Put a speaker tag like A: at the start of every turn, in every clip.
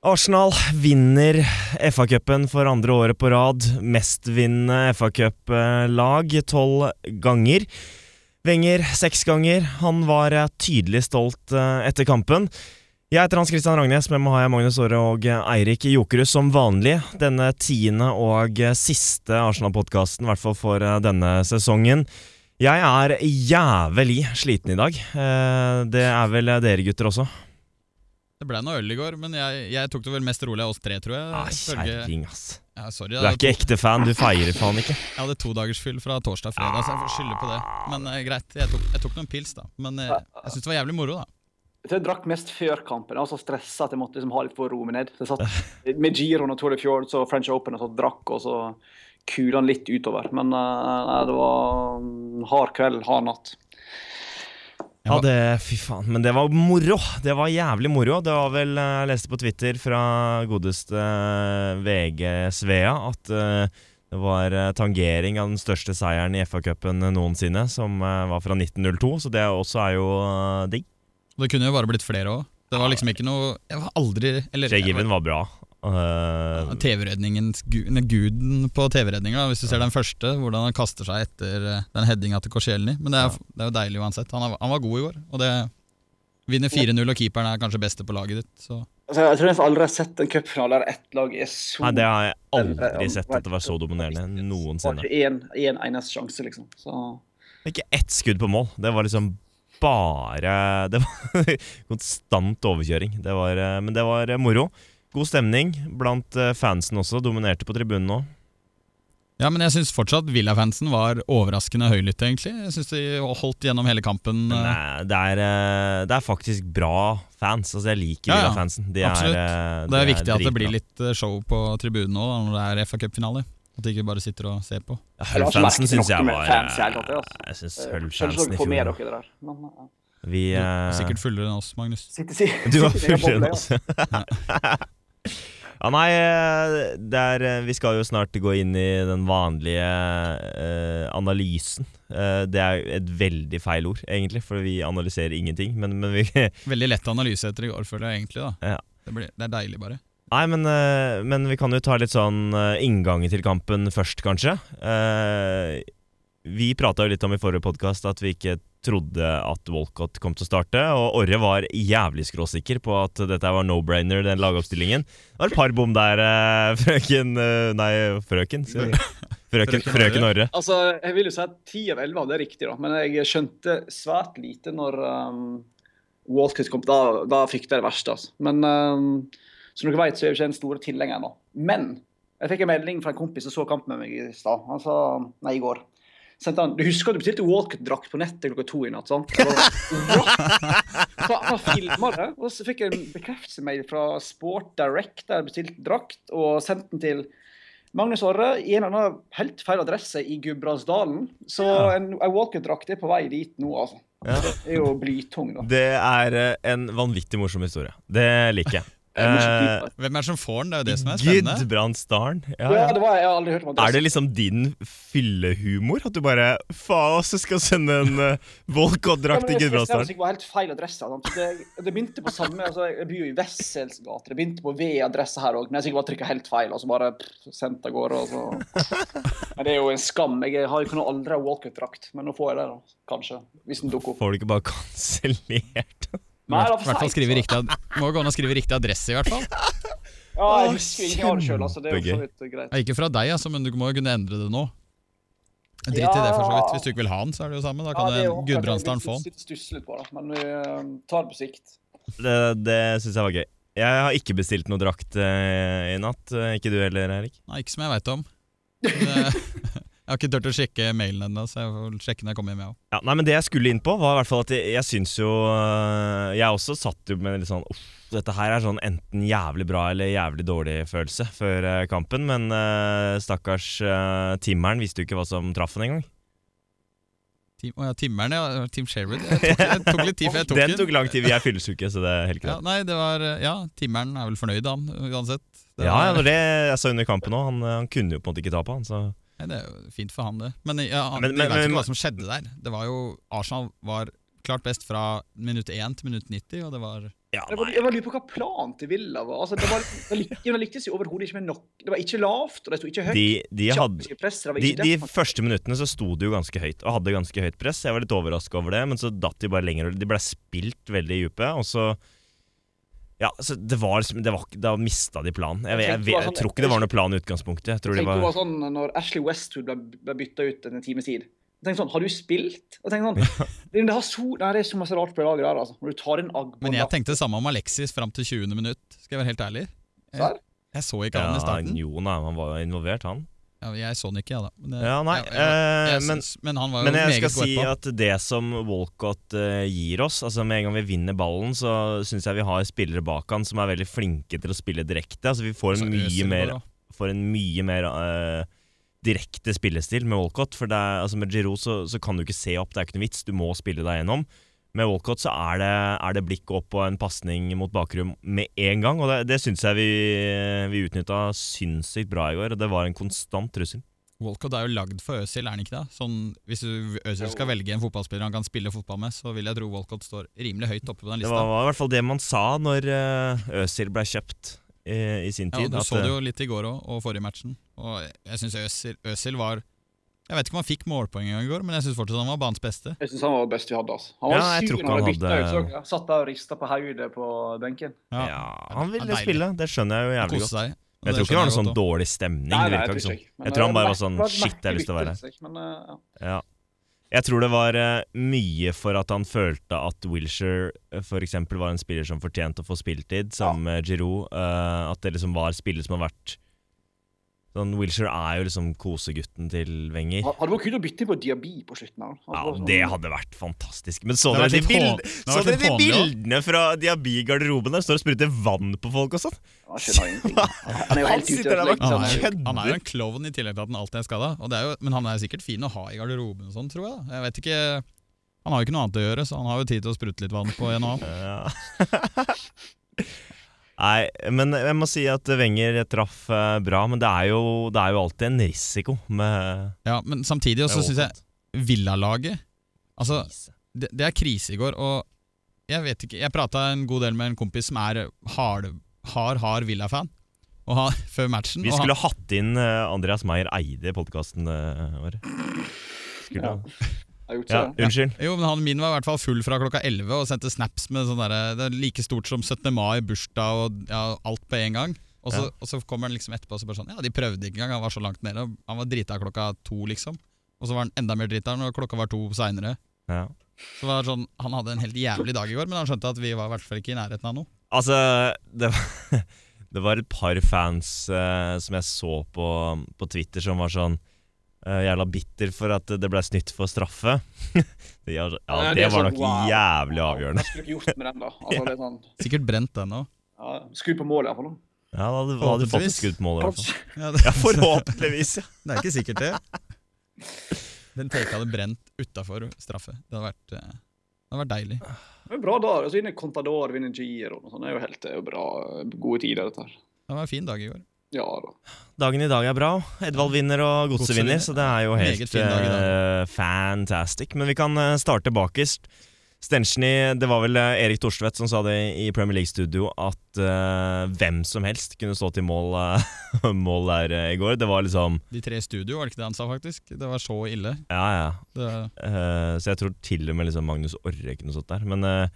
A: Arsenal vinner FA-cupen for andre året på rad. Mestvinnende FA-cuplag tolv ganger. Wenger seks ganger. Han var eh, tydelig stolt eh, etter kampen. Jeg heter Hans Christian Rangnes, med meg har jeg Magnus Aare og eh, Eirik Jokerud som vanlig. Denne tiende og eh, siste Arsenal-podkasten, i hvert fall for eh, denne sesongen. Jeg er jævlig sliten i dag. Eh, Det er vel eh, dere gutter også?
B: Det ble noe øl i går, men jeg, jeg tok det vel mest rolig av oss tre, tror jeg.
A: Ah,
B: Ifølge-
A: Kjerring, ass.
B: ja,
A: Du
B: sorry, jeg
A: er
B: hadde,
A: ikke ekte fan, du feirer faen ikke.
B: jeg hadde todagersfyll fra torsdag og fredag, så jeg får skylde på det. Men eh, greit, jeg tok, jeg tok noen pils, da. Men eh, jeg syns det var jævlig moro, da.
C: Jeg tror jeg drakk mest før kampen. Jeg var så stressa at jeg måtte liksom ha litt for å roe meg ned. Så jeg satt med Giroen og Tour de Fjords og French Open og så drakk og så kula den litt utover. Men eh, nei, det var en hard kveld, hard natt.
A: Ja, det, fy faen, men det var moro. Det var jævlig moro. Det var vel, eh, jeg leste på Twitter fra godeste eh, VG Svea at eh, det var eh, tangering av den største seieren i FA-cupen noensinne, som eh, var fra 1902, så det også er jo eh, digg.
B: Det kunne jo bare blitt flere òg. Det var liksom ikke noe Jeg var aldri eller,
A: Jay Given var bra. Eh,
B: TV-redningens gu- nei, guden på TV-redninga, hvis du ser den første, hvordan han kaster seg etter eh, den headinga til Korsielny. Men det er, det er jo deilig uansett. Han, er, han var god i går, og det vinner 4-0, og keeperen er kanskje beste på laget ditt. Så
C: Altså, jeg tror nesten aldri jeg har sett en cupfinale der ett lag er så
A: nei, det har jeg aldri sett at det var så dominerende
C: Har
A: noensinne.
C: ikke én en eneste sjanse, liksom. Så
A: Ikke ett skudd på mål. Det var liksom bare Det var konstant overkjøring. Det var, eh, men det var eh, moro. God stemning blant eh, fansen også. Dominerte på tribunen nå.
B: Ja, men jeg syns fortsatt Villa-fansen var overraskende høylytt, egentlig. Jeg syns de holdt gjennom hele kampen.
A: Men
B: eh,
A: eh, det er, eh, det er faktisk bra fans. Altså, jeg liker
B: Ja, ja.
A: Villa-fansen. De
B: Absolutt.
A: Er, eh,
B: og
A: de
B: Det er viktig at det
A: dritbra.
B: blir litt eh, show på tribunen nå da, når det er FA Cup-finale. At de ikke bare sitter og ser på.
A: Ja,
C: Jeg har ikke
A: Hull-fansen
C: merket
A: syns
C: noe
A: jeg
C: med
A: var
C: fans i hele tatt, jeg, altså.
A: Jeg syns
C: eh, skjønner ikke
A: Hull-fansen
C: om
A: i
C: dere får med
A: fjor
C: dere det der. Men, eh,
A: Vi eh,
B: Du er sikkert fullere enn oss, Magnus.
C: sitter- sitter-
A: Du var
C: sitter i en
A: fullere enn
C: boble,
A: oss.
C: altså.
A: Ja, nei, eh, det er, eh, vi skal jo snart gå inn i den vanlige eh, analysen. Eh, det er jo et veldig feil ord, egentlig, for vi analyserer ingenting. Men, men vi
B: Veldig lett analyse etter i går, føler jeg egentlig. da
A: Ja.
B: det, blir, det er deilig, bare.
A: Nei, men, eh, men vi kan jo ta litt sånn eh, inngangen til kampen først, kanskje. Eh, vi prata jo litt om i forrige podkast at vi ikke trodde at Walcott kom til å starte, og Orre var jævlig skråsikker på at dette var no-brainer, den lagoppstillingen. Det var et par bom der, eh, frøken eh, Nei, frøken. sier jeg. Frøken,
B: Frøken Orre.
A: frøken Orre.
C: Altså, jeg vil jo si at 10 av 11 hadde riktig, da. men jeg skjønte svært lite når um, Walcott kom. Da, da frykta jeg det verste. Altså. Men um, som dere vet, så er jeg jo ikke den store tilhengeren nå. Men jeg fikk en melding fra en kompis som så kamp med meg i stad. Han sa Nei, i går. Sendte han, Du husker at du bestilte Walcott-drakt på nettet klokka to i natt? sant? Jeg bare, «What?» Så han filma det, og så fikk jeg en bekreftelsesmail fra Sport Direct der jeg bestilte drakt, og sendte den til Magnus Orre i en eller annen helt feil adresse i Gudbrandsdalen. Så
A: Ja.
C: en, en Walker-drakt er på vei dit nå, altså.
A: Ja.
C: Det er jo blytung, da.
A: Det er eh, en vanvittig morsom historie. Det liker jeg.
C: Det er morsomt,
A: Eh,
C: da.
B: Hvem er det som får den? Det er jo det som er spennende.
A: Gudbrandsdalen. Ja,
C: ja,
A: ja.
C: det var jeg har aldri hørt om
A: Er
C: adresse.
A: det liksom din fyllehumor? At du bare faen også skal sende en uh, Volcott-drakt til Gudbrandsdalen?
C: Det var helt feil adresse. Sant? Det, det begynte på samme altså, Jeg bor jo i Wessels gate. Det begynte på V-adresse her òg, men jeg sikkert bare trykka helt feil. Og så bare pff, sendt av gårde. og så... Men det er jo en skam. Jeg har jo kunne aldri ha Walker-drakt, men nå får jeg det, da. Kanskje. Hvis den dukker opp.
A: Får du ikke bare kansellert?
C: Nei,
B: I
C: det var for
B: hvert fall
C: seint,
B: skrive
C: så-
B: riktig ad Må gå an å skrive riktig adresse, i hvert fall.
C: Ja,
A: Å,
C: jeg husker jo ingenting av det sjøl, altså. Det er jo for så
A: kjempegøy.
C: vidt greit.
B: Ja, ikke fra deg, altså, men du må jo kunne endre det nå. Drit i det, for så vidt. Hvis du ikke vil ha den, så er det jo samme. Da kan
C: det er
B: ja,
C: jo akkurat det.
B: Gudbrandsdalen
C: Vi
B: få den.
C: sitter og stusser litt på det, men vi eh, tar det på sikt.
A: Det, det syns jeg var gøy. Jeg har ikke bestilt noe drakt eh, i natt. Eh, Ikke du heller, Erik?
B: Nei, ikke som jeg veit om. Men, eh, Jeg har ikke turt å sjekke mailen ennå, så jeg får sjekke når jeg kommer hjem, jeg òg.
A: Ja, nei, men Det jeg skulle inn på, var i hvert fall at jeg, jeg syns jo eh, Jeg også satt jo med litt sånn Uff, dette her er sånn enten jævlig bra eller jævlig dårlig-følelse før eh, kampen. Men eh, stakkars eh, timmeren visste jo ikke hva som traff han engang.
B: Tim, å ja, timmeren, ja. Tim Sherwood. Jeg tok, jeg tok litt tid før jeg tok
A: Den tok lang tid. Vi er fyllesyke, så det er helt greit.
B: Ja, nei, det var Ja, timmeren er vel fornøyd, han, uansett.
A: Ja,
B: Det
A: ja,
B: var-
A: det var det jeg sa under kampen òg. Han, han kunne jo på en måte ikke ta på han. Så.
B: Nei, det er jo fint for han, det. Men ja, han,
A: Men-
B: vi
A: men-
B: vet jo
A: men-
B: ikke hva som skjedde der. Det var jo Arsenal var klart best fra minutt 1 til minutt 90, og det var
A: Ja,
C: Jeg bare,
A: nei.
C: jeg bare lurer på hva planen til Villa var. Altså, det, var det, likte, det liktes jo overhodet ikke med nok. Det var ikke lavt, og det sto ikke høyt.
A: De, de, hadde,
C: Ikke press, det var
A: de,
C: ikke
A: de
C: det.
A: første minuttene så sto de jo ganske høyt og hadde ganske høyt press. Jeg var litt overraska over det, men så datt de bare lenger. og De ble spilt veldig dype, og så Ja, så det var liksom det var, ikke- Da mista de planen. Jeg, jeg, jeg, jeg, tror ikke det var noen plan i utgangspunktet. Jeg tror
C: Jeg
A: det
C: tenkte det
A: var
C: var sånn når Ashley Westwood ble, ble bytta ut etter en times tid. Jeg tenkte sånn, Har du spilt? Og tenkte sånn, det, det, har så, nei, det er så masse rart på det laget der. altså. Når du tar inn Agbo
B: Men jeg tenkte det samme om Alexis fram til 20. minutt. Skal jeg være helt ærlig?
C: Svar?
B: Jeg, jeg så ikke han
A: ja,
B: i starten.
A: Jo, nei, han var jo involvert, han.
B: Ja, jeg så han ikke, jeg, da. Men, jeg-
A: Ja, nei,
B: jeg, jeg,
A: eh,
B: jeg
A: men,
B: syns- men han var jo
A: men jeg
B: meget
A: skal
B: god
A: si
B: etterpå.
A: at det som Walcott eh, gir oss Altså Med en gang vi vinner ballen, så syns jeg vi har spillere bak han som er veldig flinke til å spille direkte. Altså Vi får
B: Så
A: en
B: Øsil
A: mye
B: var
A: mer,
B: bra.
A: får en mye mer eh, direkte spillestil med Walcott. For det er, altså med Giroud så, så kan du ikke se opp, det er ikke noe vits. Du må spille deg gjennom. Med Walcott så er det, er det blikk opp og en pasning mot bakrom med en gang. Og det, det syns jeg vi, vi utnytta sinnssykt bra i går. og Det var en konstant trussel.
B: Walcott er jo lagd for Øzil, er han ikke det? Sånn, hvis du- Øzil skal velge en fotballspiller han kan spille fotball med, så vil jeg tro Walcott står rimelig høyt oppe på den
A: Det
B: lista.
A: var, var i hvert fall det man sa når eh, Øzil ble kjøpt eh, i sin
B: ja, og
A: tid.
B: du
A: at,
B: så
A: eh,
B: det jo litt i går òg, og forrige matchen. Og jeg syns Øzil, Øzil var Jeg vet ikke om han fikk målpoeng engang i går, men jeg syns fortsatt han var banens beste.
C: Jeg syns han var best vi hadde. altså. Han var
A: Ja, jeg tror
C: sur
A: ikke
C: når han
A: han
C: ble bytta ut.
A: hadde-
C: så dere? Satt der og rista på hodet på benken.
A: eh, ja, han ville spille, det skjønner jeg jo jævlig
B: Kose
A: godt.
B: seg.
A: Men jeg tror ikke det var noen sånn dårlig stemning. det virka ikke sånn.
C: Men
A: Jeg
C: det
A: tror han bare
C: et
A: var sånn,
C: merke- det et
A: shit, jeg har lyst til å være
C: merkelig bytte, Men, eh, ja.
A: Ja. Jeg tror det var eh, mye for at han følte at Wilshere eh, for eksempel var en spiller som fortjente å få spilletid, sammen med Giroud. eh, at det liksom var spillere som har vært Sånn, Wilshere er jo liksom kosegutten til Wenger.
C: Ha- Hadde vært kult å bytte inn på Diaby på slutten. her.
A: Ja,
C: Altså,
A: Det hadde vært fantastisk. Men så dere
B: Det har vært
A: de,
B: litt
A: bild
B: hån- det
A: så
B: har vært
A: dere
B: litt
A: de
B: hånlig også.
A: bildene fra Diaby-garderoben der? Står og spruter vann på folk og sånn?
C: Jeg skjønner ingenting. Han er jo
A: Han
C: helt
A: sitter
C: ute.
A: der
C: av
A: bak
B: Han er,
C: seg.
B: jo,
A: Kødder.
B: han er jo en klovn i tillegg til at han alltid er skada. Men han er sikkert fin å ha i garderoben og sånn, tror jeg. da. Jeg vet ikke Han har jo ikke noe annet å gjøre, så han har jo tid til å sprute litt vann på en og annen.
A: Ja. Nei, men jeg må si at Wenger traff eh, bra. Men det er, jo, det er jo alltid en risiko med
B: Ja, men samtidig også syns jeg Villalaget Altså, det, det er krise i går, og jeg vet ikke Jeg prata en god del med en kompis som er hard, hard, hard Villa-fan, og han, før matchen.
A: Vi
B: og han,
A: skulle hatt inn eh, Andreas Meyer Eide i podkasten vår. Skulle,
C: Ja. Jeg har gjort sånn.
A: ja,
C: så, ja.
A: unnskyld.
B: Jo, men han min var i hvert fall full fra klokka 11 og sendte snaps med sånn derre Det er like stort som 17. mai, bursdag og ja, alt på en gang. Og så,
A: Ja.
B: og så kommer han liksom etterpå og så bare sånn Ja, de prøvde ikke engang, han var så langt nede. og Han var drita klokka to, liksom. Og så var han enda mer drita når klokka var to seinere.
A: Ja.
B: Så var det sånn, han hadde en helt jævlig dag i går, men han skjønte at vi var i hvert fall ikke i nærheten av noe.
A: Altså, det var, det var et par fans eh, som jeg så på, på Twitter, som var sånn eh, jævla bitter for at det ble snytt for straffe. De var så- ja,
C: Ja, det
A: det
C: er
A: var
C: sånn,
A: nok
C: wow.
A: jævlig avgjørende.
C: Hva skulle du gjort med den, da? Altså, det er sånn,
B: Sikkert brent den òg.
C: ja, Skudd på målet, iallfall.
A: Ja, da hadde, da hadde du fått et
B: Forhåpentligvis.
A: skudd på mål, i hvert fall.
C: Kanskje.
B: Ja, det, sånn.
A: Ja, forhåpentligvis, ja.
B: det er ikke sikkert, det. Den teka hadde brent utafor straffe. Det hadde vært, eh, det hadde vært deilig.
C: Men bra da, altså vinner Contador, vinner Giro og sånn. Det er jo helt det er jo bra, gode tider dette her.
B: Det var en fin dag i går.
C: Ja da.
A: Dagen i dag er bra. Edvald vinner og
B: Godset
A: Godset vinner,
B: vinner.
A: så det er jo
B: Meget
A: helt
B: fin dag i dag.
A: eh, fantastic. Men vi kan eh, starte bakerst. Stenchny, det var vel eh, Erik Thorstvedt som sa det i Premier League-studio, at eh, hvem som helst kunne stå til mål, eh, mål der eh, i går. Det var liksom
B: De tre i studio, var det ikke det han sa, faktisk? Det var så ille.
A: Ja, ja.
B: Det,
A: Eh, så jeg tror til og med liksom Magnus Orre kunne stått der. Men eh,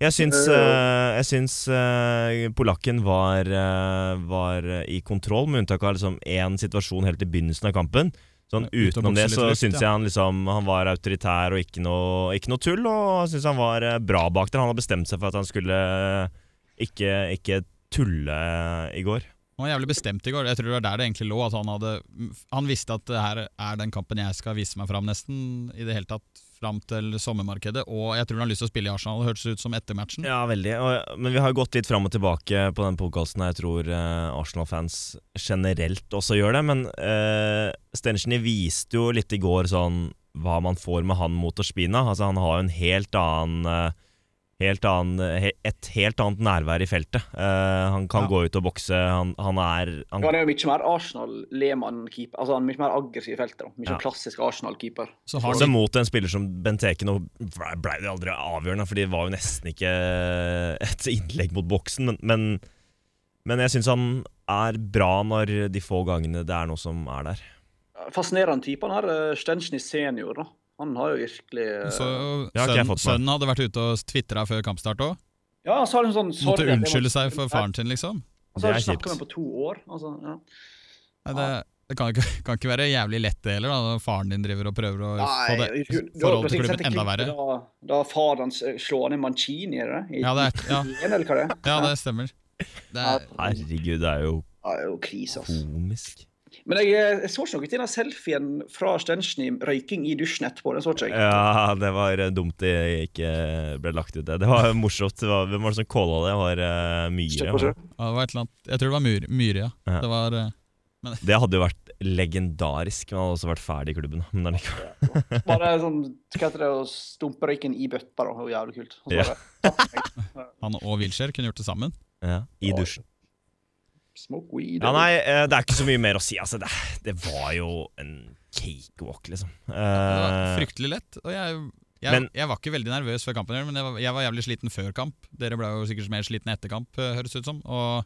A: jeg syns,
C: Ja, ja.
A: eh, jeg syns eh, polakken var, eh, var eh, i kontroll, med unntak av liksom én situasjon helt i begynnelsen av kampen. Sånn,
B: Ja, ut og
A: utenom
B: bokse
A: det
B: litt
A: så
B: luft,
A: syns
B: ja.
A: jeg han, liksom, han var autoritær og ikke noe, ikke noe tull. Og jeg syns han var eh, bra bak der. Han har bestemt seg for at han skulle eh, ikke, ikke tulle i går.
B: han var jævlig bestemt i går. Jeg tror det var der det egentlig lå. At han, hadde, han visste at det her er den kampen jeg skal vise meg fram, nesten. I det hele tatt fram til sommermarkedet. Og jeg tror han har lyst til å spille i Arsenal. Det hørtes ut som etter matchen.
A: Ja, veldig. Og, men vi har jo gått litt fram og tilbake på den podkasten. Jeg tror eh, Arsenal-fans generelt også gjør det. Men eh, Stenchny viste jo litt i går sånn hva man får med han mot Ospina. Altså, han har jo en helt annen eh, helt annen, he- et helt annet nærvær i feltet. Eh, han kan
B: Ja.
A: gå ut og bokse. Han, han er han,
C: Han er jo mye mer Arsenal-Lehmann-keeper. Altså, han er mye mer aggressiv i feltet. da. Mye
A: Ja.
C: klassisk Arsenal-keeper.
B: Så har
A: Så
B: de,
A: mot en spiller som Benteken og ble ble det aldri avgjørende, for det var jo nesten ikke et innlegg mot boksen. Men, men, men jeg syns han er bra når de få gangene det er noe som er der.
C: Fascinerende type. Han her Stenchny senior, da. Han har jo virkelig eh,
B: så
A: Ja, ikke jeg
B: sønnen,
A: fått med.
B: sønnen hadde vært ute og tvitra før kampstart òg.
C: Ja, så har han sånn
B: Måtte
C: sorg-
B: unnskylde seg for faren sin, liksom.
C: Og så har
A: Det er
C: jeg ikke snakka med
A: kjipt.
C: ham på to år. Altså, ja.
B: Nei, det, det kan, ikke, kan ikke være jævlig lett det heller, da, når faren din driver og prøver å få det
C: Nei, du- du har
B: forholdet til
C: plutselig sett
B: klubben
C: et
B: enda
C: klipp
B: verre.
C: Da, da faren hans eh, slår ned Mancini, er det det? I
B: Ja, det er, ja,
C: Italien, eller hva det er?
B: ja, det stemmer. Det er,
A: Herregud, det er jo
C: Ja, det er jo krise, ass.
A: komisk.
C: Men jeg, eh, jeg så ikke noe til den selfien fra Stenchny røyking i dusjen etterpå. Den så ikke jeg.
A: Ja, det var dumt det ikke ble lagt ut. Det Det var morsomt. Det var, hvem var det som calla det? Det var eh,
C: Støtt på
A: Myhre.
C: sjø.
B: ja, det var et eller annet, jeg tror det var Myhre, Myhre ja.
A: Ja.
B: Det var, eh,
A: Det hadde jo vært legendarisk. Men hadde også vært ferdig i klubben. Men det er likevel
C: Bare sånn, hva heter det, å stumpe røyken i bøtta, da. Det var jævlig kult. Og så
A: Ja.
C: bare,
B: han og Wilshere kunne gjort det sammen.
A: ja, I dusjen.
C: Smoke weed.
A: Ja, nei, eh, det er ikke så mye mer å si. Altså, det, det var jo en cakewalk, liksom.
B: Det var
A: Eh,
B: fryktelig lett. Og jeg, jeg,
A: Men-
B: jeg var ikke veldig nervøs før kampen, men jeg var, jeg var jævlig sliten før kamp. Dere ble jo sikkert mer slitne etter kamp, eh, høres det ut som. Og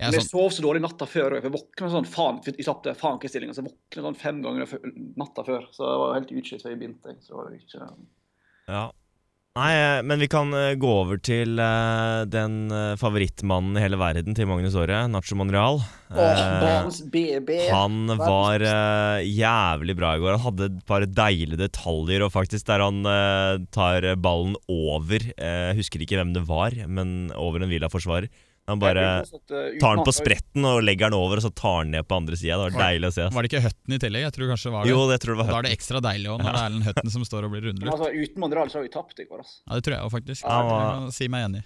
B: jeg
C: Men
B: er
C: jeg
B: sånn,
C: sov så dårlig natta før. og Jeg våkna sånn faen, vi tapte faen ikke stillinga. Så jeg våkna sånn fem ganger før- natta før. Så jeg var helt utslitt før jeg begynte. jeg, Så det var jo ikke...
A: ja. Nei, eh, men vi kan eh, gå over til eh, den eh, favorittmannen i hele verden til Magnus Aare, Nacho Monreal.
C: Åh,
A: Eh,
C: banens BB.
A: han var eh, jævlig bra i går. Han hadde et par deilige detaljer, og faktisk der han eh, tar ballen over eh, Husker ikke hvem det var, men over en Villa-forsvarer. Han bare
C: eh,
A: tar den på spretten og legger den over, og så tar han ned på andre sida. Det var
B: Var-
A: deilig å se. ass.
B: var det ikke Høtten i tillegg? Jeg tror kanskje det var det.
A: Jo, det tror jeg det var
B: da
A: Hutton.
B: er det ekstra deilig også, når det er Erlend Høtten som står og blir
A: liksom.
C: Men
B: rundlurt.
C: altså, uten Monreal så har vi tapt i går, altså.
B: Ja, det tror jeg jo faktisk.
A: Ja,
B: Jeg
A: hva-
B: kan si meg enig.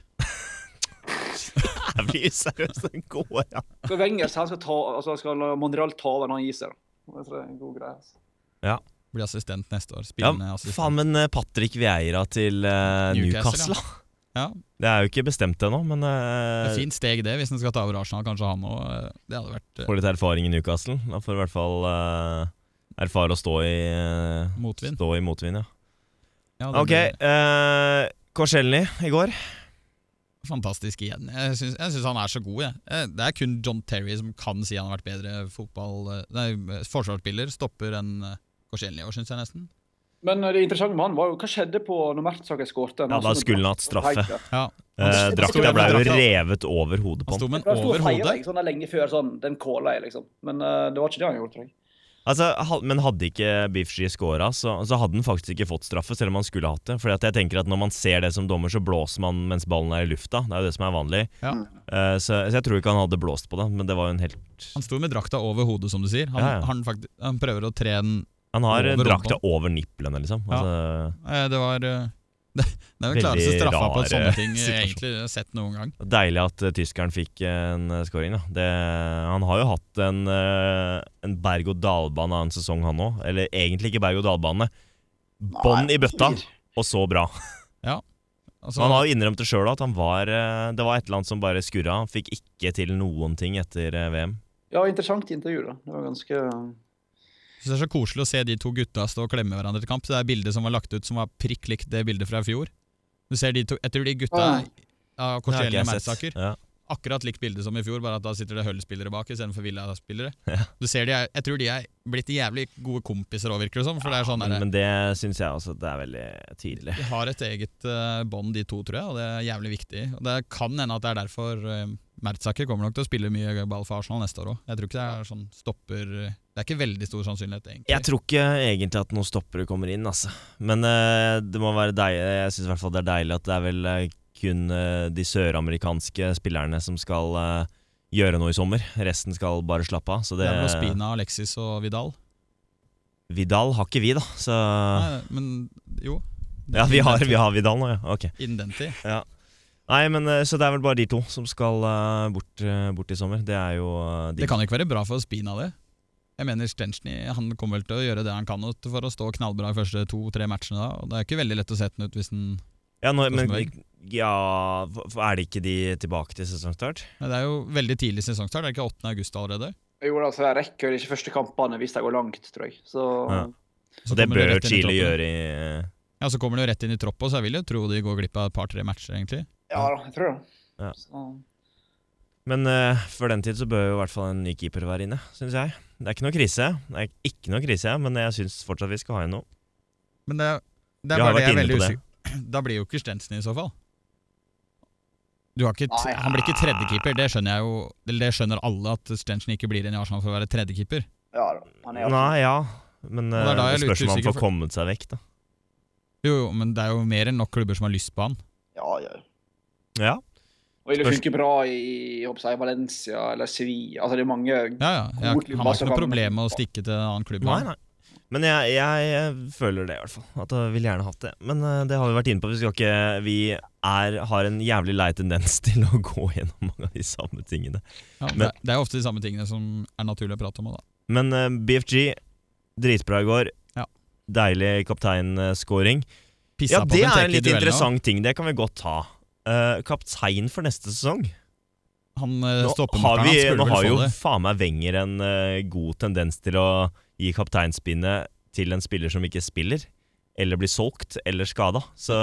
A: Jeg blir seriøst den går, ja.
C: Så Wenger så han skal ta, altså, skal la Monreal ta over når han gir seg. da. Jeg tror det er en god greie. altså.
B: Blir assistent neste år. Spillende assistent.
A: faen, men eh, Patrick Vieira til eh,
B: altså. Newcastle,
A: Newcastle, da.
B: Ja,
A: Det er jo ikke bestemt ennå, men
B: det er
A: uh,
B: Fint steg, det, hvis han skal ta over Arsenal. Kanskje han òg. Det hadde vært eh,
A: får litt erfaring i Newcastle. Da får du i hvert fall eh, erfare å stå i eh,
B: Motvind.
A: Stå i motvind, ja.
B: ja, det
A: Ok,
B: blir-
A: uh, Korselny i går.
B: fantastisk igjen. Jeg syns, jeg syns han er så god. Jeg. Eh, Det er kun John Terry som kan si han har vært bedre fotball eh, Nei, eh, forsvarsspiller, stopper enn eh, Korsielny i år, syns jeg nesten.
C: Men eh, det interessante med han var jo hva skjedde på når Mertzaker skårte.
A: Ja, da skulle han hatt straffe.
B: Ja,
A: Uh,
B: Han sto-
A: Drakta
B: han
A: ble jo
B: sto-
A: revet over hodet på han.
B: Han sto med
C: Han
B: den
C: sto og
B: over
C: feira
B: hodet.
C: liksom, da lenge før sånn, den kåla jeg, liksom. Men eh, det var ikke det han gjorde, tror jeg.
A: Altså, ha- men hadde ikke Biffji scora, så, så hadde han faktisk ikke fått straffe, selv om han skulle hatt det. Fordi at jeg tenker at når man ser det som dommer, så blåser man mens ballen er i lufta. Det er jo det som er vanlig.
B: Ja.
A: Eh, så, så jeg tror ikke han hadde blåst på det, men det var jo en helt
B: Han sto med drakta over hodet, som du sier. Han,
A: Ja, ja.
B: han, faktisk, han prøver å tre den
A: Han har eh,
B: Over
A: drakta over nipplene, liksom.
B: Ja.
A: Altså,
B: Eh, Det var eh, Det, det er jo den klareste
A: Veldig
B: straffa på
A: rare
B: sånne ting jeg
A: situasjon.
B: egentlig har sett noen gang.
A: Deilig at eh, tyskeren fikk eh, en eh, scoring, da. Det, han har jo hatt en, eh, en berg-og-dal-bane av en sesong, han òg. Eller egentlig ikke berg-og-dal-bane. Bånn i bøtta, og så bra.
B: Altså,
A: Så han har jo innrømt det sjøl at han var eh, Det var et eller annet som bare skurra. Han fikk ikke til noen ting etter eh, VM.
C: Ja, interessant intervju, da. Det var ganske
B: jeg synes det er så koselig å se de to gutta stå og klemme hverandre til kamp. Så det er bildet som var lagt ut som var prikk likt det bildet fra i fjor. Du ser de to, Jeg tror de gutta ja,
C: Ah.
A: Det har ikke
B: Korsielny og
A: jeg sett.
B: Mertzaker
A: Ja.
B: akkurat likt bilde som i fjor, bare at da sitter det Hull-spillere bak istedenfor Villa-spillere.
A: Ja.
B: Du ser de er, Jeg tror de er blitt jævlig gode kompiser òg, virker det som. For det er sånn
A: men,
B: der,
A: men det syns jeg også at det er veldig tydelig.
B: De har et eget eh, bånd, de to, tror jeg, og det er jævlig viktig. Og Det kan hende at det er derfor uh, Mertzaker kommer nok til å spille mye ball for Arsenal neste år òg. Jeg tror ikke det er sånn stopper Det er ikke veldig stor sannsynlighet, egentlig.
A: Jeg tror ikke egentlig at noen stoppere kommer inn, altså. Men eh, det må være deilig. Jeg syns i hvert fall det er deilig at det er vel eh, kun eh, de søramerikanske spillerne som skal eh, gjøre noe i sommer. Resten skal bare slappe av. Så
B: det
A: det
B: er Spina, Alexis og Vidal.
A: Vidal har ikke vi, da. Så
B: Nei, men jo. Det er
A: Ah. Ja, vi har,
B: innen den
A: vi har Vidal nå, ja. Ok.
B: tid- Innen den tid.
A: Nei, men eh, Så det er vel bare de to som skal eh, bort, eh, bort i sommer. Det er jo eh, de
B: Det kan ikke være bra for Spina, det. Jeg mener Stenchny han kommer vel til å gjøre det han kan ut for å stå knallbra i første to-tre matchene. da Og Det er ikke veldig lett å sette den ut hvis den
A: Ja, nå, men
B: Rosenborg.
A: ja, hva- Er det ikke de tilbake til sesongstart?
B: Men det er jo veldig tidlig sesongstart, er det ikke 8. august allerede?
C: Jo, da, så jeg rekker ikke første kampene hvis de går langt, tror jeg. Så
A: Ja.
B: Så
A: Og det
B: kommer
A: bør
B: rett inn i
A: Chile
B: troppen.
A: gjøre i eh,
B: Ja, Så kommer du rett inn i troppen, så jeg vil jo tro de går glipp av et par-tre matcher, egentlig.
C: ja da, jeg tror det.
A: Ja.
C: Så,
A: Men eh, før den tid så bør jo i hvert fall en ny keeper være inne, syns jeg. Det er ikke noe krise, det er ikke noe krise, men jeg syns fortsatt vi skal ha inn noe.
B: Men det, er- det er
A: Vi har
B: bare det jeg er
A: vært inne
B: veldig
A: på det.
B: usikker Da blir jo ikke Stensen i så fall. Du har ikke t
C: Nei.
B: han blir ikke tredjekeeper, det skjønner jeg jo Eller det skjønner alle at Stensen ikke blir inn i Arsenal for å være tredjekeeper.
C: ja da. Han er
A: Nei, ja, men
B: Og det er da
A: eh,
B: jeg er
A: det
B: litt
A: spørs om han
B: usikker
A: får
B: for-
A: kommet seg vekk, da.
B: Jo, jo, men det er jo mer enn nok klubber som har lyst på han.
C: Ja, ja.
A: Ja,
C: Og vil det
A: Spørs-
C: funke bra i jeg håper jeg, Valencia eller Sevilla? Altså, det er mange
B: Ja, ja. Jeg, har-
C: Kort,
B: han har
C: masse
B: ikke noe
C: kamper.
B: problem med å stikke til en annen klubb.
A: nei,
B: han.
A: nei. Men jeg, jeg, eh, føler det, i hvert fall. At jeg vil gjerne hatt det. Men eh, det har vi vært inne på. Vi, skal ikke, vi er, har en jævlig lei tendens til å gå gjennom mange av de samme tingene.
B: Ja,
A: Men-
B: det, det er jo ofte de samme tingene som er naturlig å prate om. Da.
A: Men eh, BFG, dritbra i går.
B: Ja.
A: Deilig kapteinscoring.
B: Pissa
A: Ja,
B: på
A: det er
B: Benteke
A: en
B: i
A: litt
B: duellene,
A: interessant ting. Det kan vi godt ta. Eh, kaptein for neste sesong.
B: og Han eh,
A: Nå har,
B: stoppemakeren
A: vi,
B: hans skulle
A: nå
B: vel
A: har
B: få
A: jo
B: det.
A: faen meg Wenger en eh, god tendens til å gi kapteinspinnet til en spiller som ikke spiller. Eller blir solgt eller skada. Så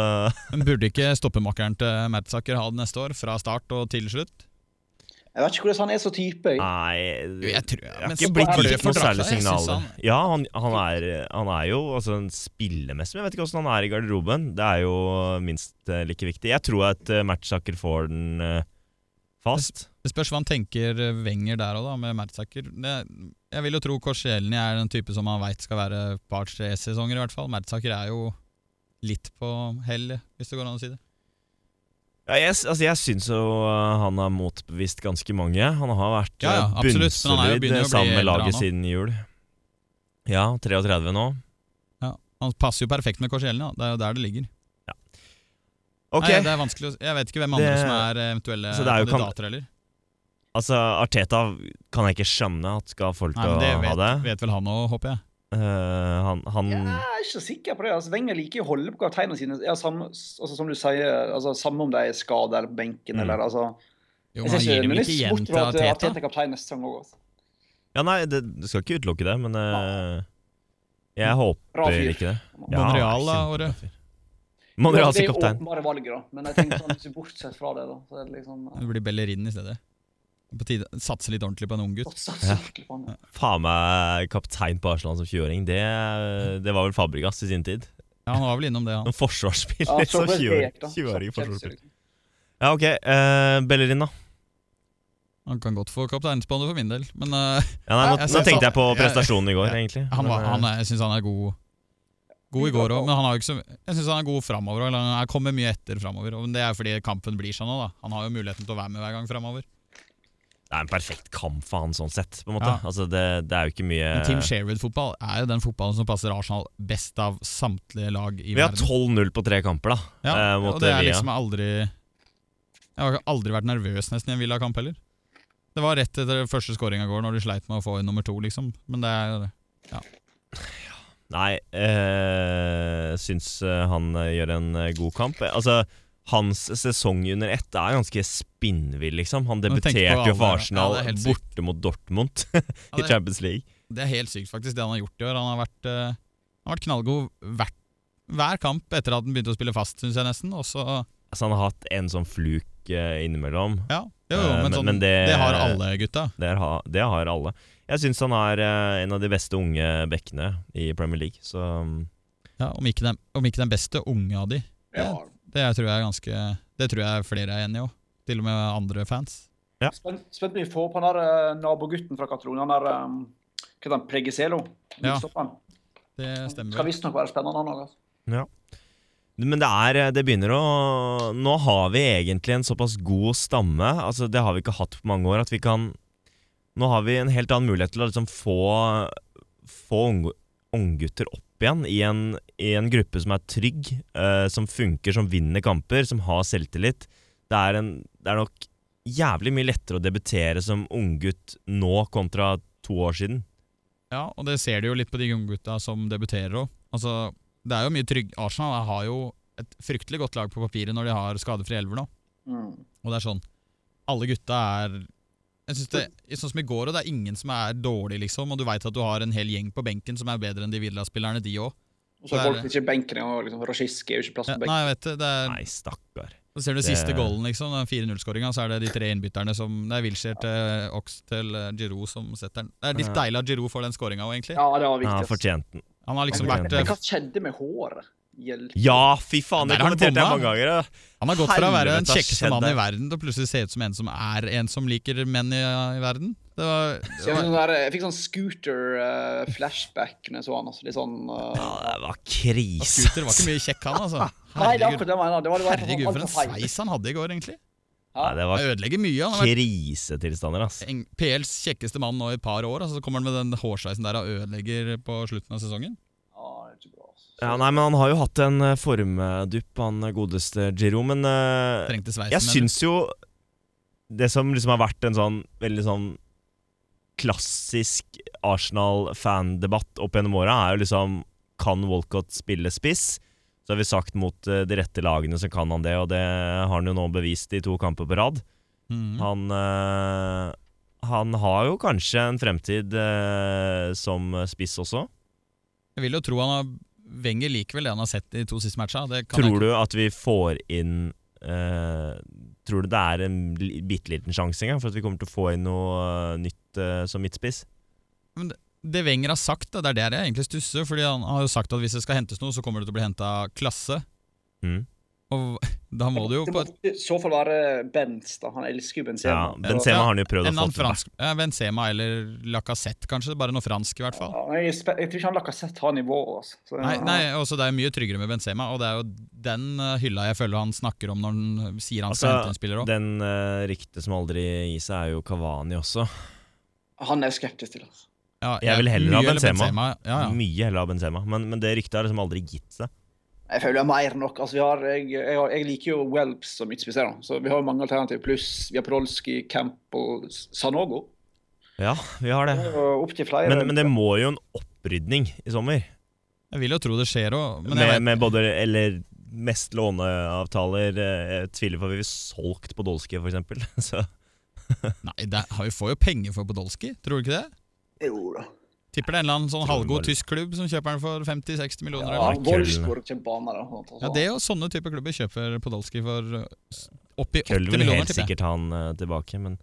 B: Men Burde ikke stoppemakeren til Mertsaker ha det neste år, fra start og til slutt?
C: Jeg vet ikke hvordan han er så type. Jeg.
A: nei
B: Jeg tror
A: Jeg har
B: men
A: ikke
B: så-
A: blitt
B: han
A: gitt
B: blør for
A: noen
B: drakta,
A: særlige
B: jeg synes
A: signaler.
B: han-
A: Ja, han, han, er, han er jo altså, en spillemessig, men jeg vet ikke åssen han er i garderoben. Det er jo minst eh, like viktig. Jeg tror at eh, Mertzaker får den eh, fast.
B: Det spørs hva han tenker eh, Wenger der òg, da, med Mertsaker. Det, jeg vil jo tro Korselny er den type som han veit skal være et par-tre sesonger, i hvert fall. Mertsaker er jo litt på hell, hvis det går an å si det.
A: Ja, jeg s- altså, jeg syns jo eh, han har motbevist ganske mange. Han har vært
B: Ja, ja,
A: eh,
B: absolutt, men han er jo-
A: bunnsolid
B: begynner
A: eh,
B: jo å bli
A: sammen
B: eldre,
A: med laget
B: han
A: siden jul. Ja, 33 nå.
B: Han passer jo perfekt med Korselny, da. Det er jo der det ligger.
A: Ok,
B: Nei, det er vanskelig å, s- jeg vet ikke hvem andre
A: Det-
B: som er eh, eventuelle
A: Så det er jo kan-
B: kandidater heller.
A: altså Arteta kan jeg ikke skjønne at skal få lov
B: Nei,
A: til å ha
B: men det vet,
A: det.
B: vet vel han òg, håper jeg.
A: Eh, han han
C: Jeg er ikke så sikker på det. Altså, Wenger liker jo å holde på kapteinene sine. Ja, samme, altså, som du sier, altså, samme om de er skada eller på benken
A: Mm.
C: eller altså,
B: Jo,
C: Jeg
B: men han
C: ser
B: gir
C: ikke
B: det vel
C: mulig
B: ikke igjen
C: bort
B: til
C: fra at
B: Ateta?
C: Ateta er kaptein neste sesong altså. òg.
A: Ja, nei, det, du skal ikke utelukke det, men eh, jeg
C: Bra
A: håper
C: fyr.
A: ikke det.
B: Monreal, da, Åre?
A: kjempebra fyr. Monreal
C: Det
A: sin
C: er jo
A: kaptein.
C: åpenbare valget, da. Men jeg tenker sånn, hvis du bortsett fra det, da, så er det liksom eh,
B: Det blir Bellerin i stedet. På tide Satse litt ordentlig på en ung gutt.
C: satsa skikkelig på han.
A: Faen meg kaptein på Arsenal som 20-åring. Det, det var vel Fabregas i sin tid.
B: Ja, han var vel innom det, han.
A: En forsvarsspiller
C: så
A: som 20-åring.
C: prestert, da. liksom.
A: 20-åring forsvarsspiller.
C: Kjempe-
A: Ja, ok. eh, Bellerin, da.
B: Han kan godt få kapteinsbåndet for min del, men eh,
A: Ja, nei, nå,
B: Jeg
A: nå
B: synes
A: tenkte
B: han-
A: jeg på
B: jeg-
A: prestasjonen i går, egentlig.
B: han var,
A: Men, eh,
B: han er, jeg syns han er god God i går òg, men han har jo ikke så, jeg syns han er god framover. eller Han er- kommer mye etter framover. Men det er jo fordi kampen blir sånn òg, da. Han har jo muligheten til å være med hver gang framover.
A: det er en perfekt kamp for han, sånn sett. På en måte.
B: Ja.
A: Altså, det, det er jo ikke mye
B: Men Team Sherwood-fotball er jo den fotballen som passer Arsenal best av samtlige lag i
A: Vi har
B: verden.
A: 12-0 på tre kamper, da.
B: Ja,
A: eh, mot
B: og det er
A: Villa.
B: liksom aldri Jeg har aldri vært nervøs nesten i en Villa-kamp heller. Det var rett etter første scoringa i går, når de sleit med å få inn nummer to, liksom. Men det er
A: Nei, eh, syns eh, han eh, gjør en eh, god kamp. Eh, Altså, hans sesong under ett er ganske spinnvill, liksom. Han
B: Men tenk på
A: debuterte jo for
B: alle-
A: Arsenal
B: ja, det er helt sykt.
A: borte mot Dortmund
B: Ja,
A: i
B: det-
A: Champions League.
B: Det er helt sykt, faktisk, det han har gjort i år. Han har vært, eh, han har vært knallgod hver, hver kamp etter at han begynte å spille fast, syns jeg nesten. Og så,
A: Altså, han har hatt en sånn fluk eh, innimellom.
B: ja,
A: Eh,
B: jo, jo, men,
A: men-
B: sånn,
A: men
B: det,
A: det-
B: har alle gutta.
A: Det, er ha, det har alle. Jeg syns han er eh, en av de beste unge bekkene i Premier League, så mm,
B: Ja, om, ikke den, om ikke den beste unge av de.
C: Ja,
B: Det tror jeg, er ganske, det tror jeg flere er enig i òg. Til og med andre fans.
C: Spent, spent mye på på han der eh, nabogutten fra Catalonia. Han der um, Hva heter han? Pregiselo?
B: Ja,
C: Midtstopperen.
B: Det stemmer.
C: Skal
B: vel.
C: visstnok være spennende, han òg. Altså.
A: Men det er eh, Det begynner å Nå har vi egentlig en såpass god stamme, altså det har vi ikke hatt på mange år, at vi kan Nå har vi en helt annen mulighet til å liksom få Få ung- unggutter opp igjen i en, i en gruppe som er trygg, eh, som funker, som vinner kamper, som har selvtillit. Det er, en, det er nok jævlig mye lettere å debutere som unggutt nå kontra to år siden.
B: Ja, og det ser du jo litt på de unggutta som debuterer òg. Altså, det er jo mye trygg Arsenal har jo et fryktelig godt lag på papiret når de har skadefrie elver nå.
C: Mm.
B: Og det er sånn Alle gutta er jeg synes det, Sånn som i går, og det er ingen som er dårlig, liksom. Og du veit at du har en hel gjeng på benken som er bedre enn de Villa-spillerne, de òg.
C: Og så
B: Så
C: er
B: er
C: folk ikke i benken engang. Liksom. Rashiski er jo ikke plass
B: Ja,
C: på
B: nei,
C: benken.
B: jeg vet det. det er,
A: Nei, stakkar.
B: så ser du
A: Det-
B: siste goalen, liksom. Den 4-0-skåringa, så er det de tre innbytterne som Det er Wilshere til Ox til eh, Giroud som setter den. Det er litt
A: Ja.
B: deilig at Giroud får den skåringa òg, egentlig.
C: Ja, det var
A: Ja,
C: viktig.
A: han
C: ass.
A: fortjent den.
B: Han har liksom
A: Han
B: vært
A: fortjener
B: eh,
C: Men hva skjedde med håret? Hjelp.
A: Ja, fy faen! Det
B: Der har han
A: kommenterte jeg
B: bomma.
A: mange ganger. da.
B: Han har gått fra å være
A: Helvete,
B: den
A: hva
B: kjekkeste mannen
A: skjedde?
B: i verden til å plutselig se ut som en som er en som liker menn i, i verden. Det var,
C: Så jeg, fikk sånn der, jeg fikk sånn scooter-flashback når jeg så han. Altså. Litt sånn eh,
A: Ja, det var krise.
B: Scooter var ikke mye kjekk, han, altså.
C: Nei, det er
B: Herregud,
C: akkurat det jeg mener. Det var, det var
B: herregud for en
C: altfor feil.
B: sveis han hadde i går, egentlig.
A: Nei, det var
B: Han ødelegger mye. Han har vært
A: krisetilstander, ass.
B: en- PLs kjekkeste mann nå i et par år, altså, så kommer han med den hårsveisen der og ødelegger på slutten av sesongen.
C: Ja, det er ikke bra, altså.
A: Ja, nei, men han har jo hatt en eh, formdupp, han eh, godeste Giro, men eh,
B: Trengte sveisen.
A: jeg
B: men-
A: syns jo det som liksom har vært en sånn veldig sånn klassisk Arsenal-fandebatt opp gjennom åra, er jo liksom Kan Walcott spille spiss? Så har vi sagt mot eh, de rette lagene så kan han det, og det har han jo nå bevist i to kamper på rad.
B: Mhm.
A: Han, eh, han har jo kanskje en fremtid eh, som spiss også.
B: Jeg vil jo tro han har Wenger likevel det han har sett i de to siste matcha. Det kan
A: Tror
B: jeg,
A: du at vi får inn eh, Tror du det er en li- bitte liten sjanse engang for at vi kommer til å få inn noe eh, nytt eh, som midtspiss?
B: det Wenger har sagt, da, det er der jeg egentlig stusser. Fordi han har jo sagt at hvis det skal hentes noe, så kommer det til å bli henta klasse.
A: Mm.
B: Og da må du jo
C: Det
B: på
C: må i så fall være Benz, da. Han elsker jo Benzema.
A: Ja, Benzema har han jo prøvd å
B: en
A: få
B: annen
A: til.
B: fransk ja, Benzema eller Lacassette, kanskje. Bare noe fransk, i hvert fall.
C: Ja, men jeg, er spe- jeg tror ikke han Lacassette har nivået. Altså. Så,
B: Nei, nei også Det er mye tryggere med Benzema, og det er jo den eh, hylla jeg føler han snakker om når han sier han skal
A: Altså,
B: hente en spiller òg.
A: Den uh, ryktet som aldri gir seg, er jo Kavani også.
C: Han er skeptisk til altså.
B: Ja,
A: jeg vil heller ha
B: mye
A: Benzema. Mm.
B: Ja, ja.
A: Mye heller av Benzema, men, men det ryktet har liksom aldri gitt seg.
C: Jeg føler det er mer enn nok. Altså, vi har, jeg, jeg, har- jeg liker jo Welps som midtspiser, da. så vi har mange alternativer. Pluss vi har Prolski, Camp og Sanogo.
A: Ja, vi har det.
C: Opp til flere.
A: Men, men det må jo en opprydning i sommer.
B: Jeg vil jo tro det skjer òg, men jeg
A: Med,
B: vet,
A: med både Eller mest låneavtaler. eh, Jeg tviler på at vi blir solgt Podolsky, for eksempel. Så
B: nei, det, er- vi får jo penger for Podolsky, tror du ikke det?
C: Jo da.
B: Tipper det er en eller annen sånn
A: Tror du
B: halvgod
A: bare-
B: tysk klubb som kjøper den for 50-60 millioner.
C: Ja,
B: eller?
A: køll.
C: Wolfsburg kommer på banen. da, sånn, sånn.
B: Ja, det er jo sånne typer klubber kjøper Podolsky for eh, s- oppi 80
A: Køll vil
B: millioner,
A: helt
B: tipper jeg.
A: sikkert ha han eh, tilbake, men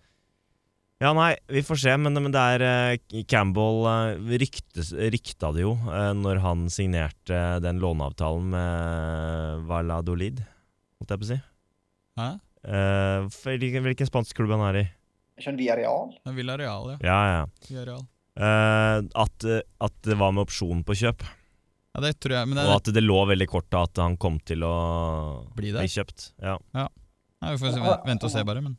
A: Ja, nei, vi får se, men, men det er eh, Campbell eh, ryktes, rykta det jo eh, når han signerte den låneavtalen med Valladolid, holdt jeg på å si.
B: Hæ?
A: Eh, for hvilken, hvilken spansk klubb han er i.
C: Jeg skjønner vi er real.
B: Det er Villa Real, ja.
A: Ja, ja.
B: Villa Real.
A: Eh, at, eh, at det var med opsjon på kjøp,
B: Ja, det tror jeg, men det
A: og at det lå veldig kort da at han kom til å
B: Bli der?
A: bli kjøpt. Ja.
B: Nei, Vi får se- vente og se, bare. Men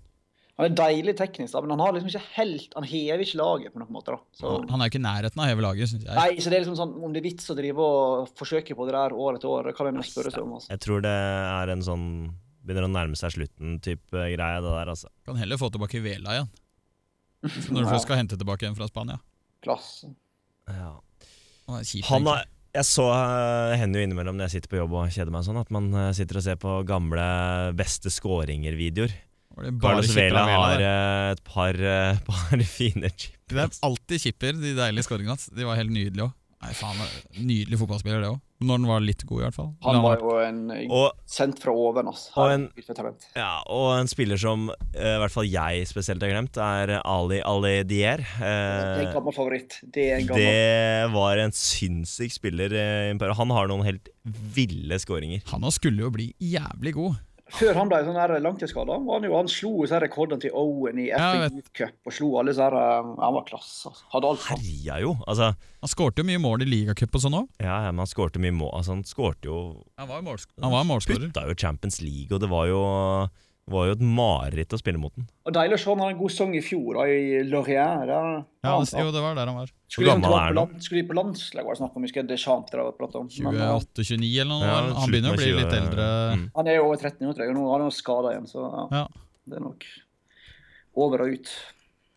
C: Han er deilig teknisk, da, men han har liksom ikke helt Han hever ikke laget på noen måte. da. Så,
B: han er jo ikke i nærheten av å heve laget, syns jeg.
C: nei, så det er liksom sånn, Om det er vits å drive og forsøke på det der år etter år, det kan vi nå spørre seg om. altså.
A: Jeg tror det er en sånn Begynner å nærme seg slutten-type greie, det der, altså.
B: Kan heller få tilbake Vela igjen. Når du først skal hente tilbake en fra Spania.
C: Klasse.
A: Ja.
B: Å, det er kjipt,
A: Han
B: egentlig.
A: er, jeg så eh, hender jo innimellom når jeg sitter på jobb og kjeder meg sånn, at man eh, sitter og ser på gamle beste skåringer-videoer.
B: Var det bare
A: Carlos
B: chipper
A: Vela
B: av
A: har
B: der?
A: eh, et par, eh, par fine chipper.
B: Det er alltid chipper, de deilige scoringene hans. De var helt nydelige òg. Nei, faen, det er nydelig fotballspiller, det òg. Når han var litt god, i hvert fall.
C: Han
B: Men
C: var jo en
A: Og,
C: sendt fra oven, altså.
A: Og en-
C: Herregud, for talent.
A: ja, og en spiller som eh, i hvert fall jeg spesielt har glemt, er Ali Ali Dier.
C: Det er en
A: Eh,
C: gammel favoritt. Det er en gammel
A: det var en sinnssyk spiller. eh, i en periode. Han har noen helt ville skåringer.
B: han også skulle jo bli jævlig god.
C: Før han ble sånn der langtidsskada, var han jo han slo jo så her rekordene til Owen i
B: Ja, jeg
C: FU Cup og slo alle så her eh, Han var klasse. altså. Hadde alt. han.
A: Herja jo. Altså,
B: Han skårte jo mye mål i ligacup og sånn òg.
A: ja, ja, men han skårte mye mål. Altså, han skårte jo
B: Han var jo målskårer.
A: putta jo Champions League, og det var jo, var jo et mareritt å spille mot den.
C: Og Deilig å se han har en god sang i fjor, da, i Laurier.
B: Ja,
C: Der. han-
B: han, jo, det var der han var.
A: Hvor
C: Skulle liksom
A: gammel
C: til
A: er
C: å være på
A: han?
C: land- skulle de på landslag, var det snakk om. Husker jeg Deschamps drev og pratet om. Men, eh,
B: 28-29 eller noe.
A: Ja,
B: han begynner jo å bli
A: slutten av 20,
B: litt eldre.
A: mm.
C: han er jo over 13 nå, tror jeg. og Nå har han jo skada igjen, så ja.
B: Ja.
C: det er nok over og ut.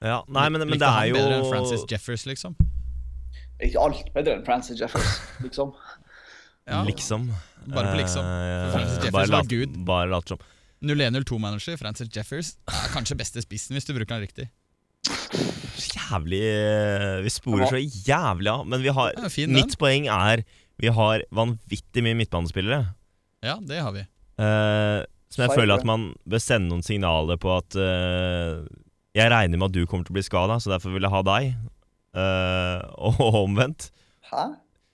A: Ja, nei, men, men
B: Likte
A: det
B: han
A: er jo
B: Bedre enn Francis Jeffers, liksom.
C: Ikke alt bedre enn Francis Jeffers, liksom.
B: Ja,
A: liksom.
B: Bare på liksom.
A: Eh,
B: Francis Jeffers
A: bare
B: var
A: lat-
B: Gud.
A: Bare lat som.
B: 0102-manager Francis Jeffers er kanskje beste spissen hvis du bruker den riktig.
A: Jævlig eh, Vi sporer så jævlig av. Men vi har,
B: Det er jo fin, den.
A: mitt poeng er vi har vanvittig mye midtbanespillere.
B: Ja, det har vi.
A: Eh, som jeg
C: Feil,
A: føler
C: det.
A: at man bør sende noen signaler på at eh, Jeg regner med at du kommer til å bli skada, så derfor vil jeg ha deg. Eh, og omvendt.
C: Hæ?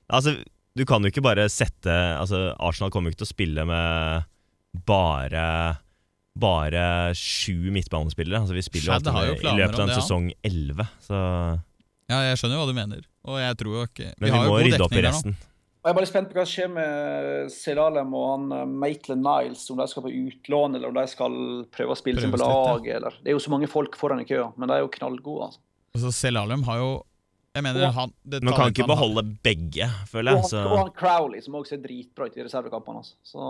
A: Altså, du kan jo ikke bare sette altså, Arsenal kommer jo ikke til å spille med bare Bare sju midtbanespillere. Altså, vi spiller jo
B: Skjedd har jo
A: alltid med, i
B: planer
A: løpet av
B: om
A: en
B: det, ja.
A: sesong elleve, så
B: Ja, jeg skjønner jo hva du mener. Og jeg tror jo ikke
A: Men vi,
B: har jo
A: må
B: god
A: rydde opp i
B: dekning der nå.
A: resten.
C: Og Jeg er bare spent på hva som skjer med Selalem og han eh, Maitland Niles. Om de skal på utlån, eller om de skal prøve å spille seg på
B: Prøves litt, ja.
C: lag. Eller. Det er jo så mange folk foran i køa, men de er jo knallgode. Altså.
B: Altså, Selalem har jo Jeg mener,
C: Ja.
B: han det
A: Man kan
B: talentet
A: ikke
B: han har-
A: beholde begge, føler
C: Og,
A: jeg.
C: han,
A: Så
C: og han Crowley, som også ser dritbra ut i reservekampene. Altså. Så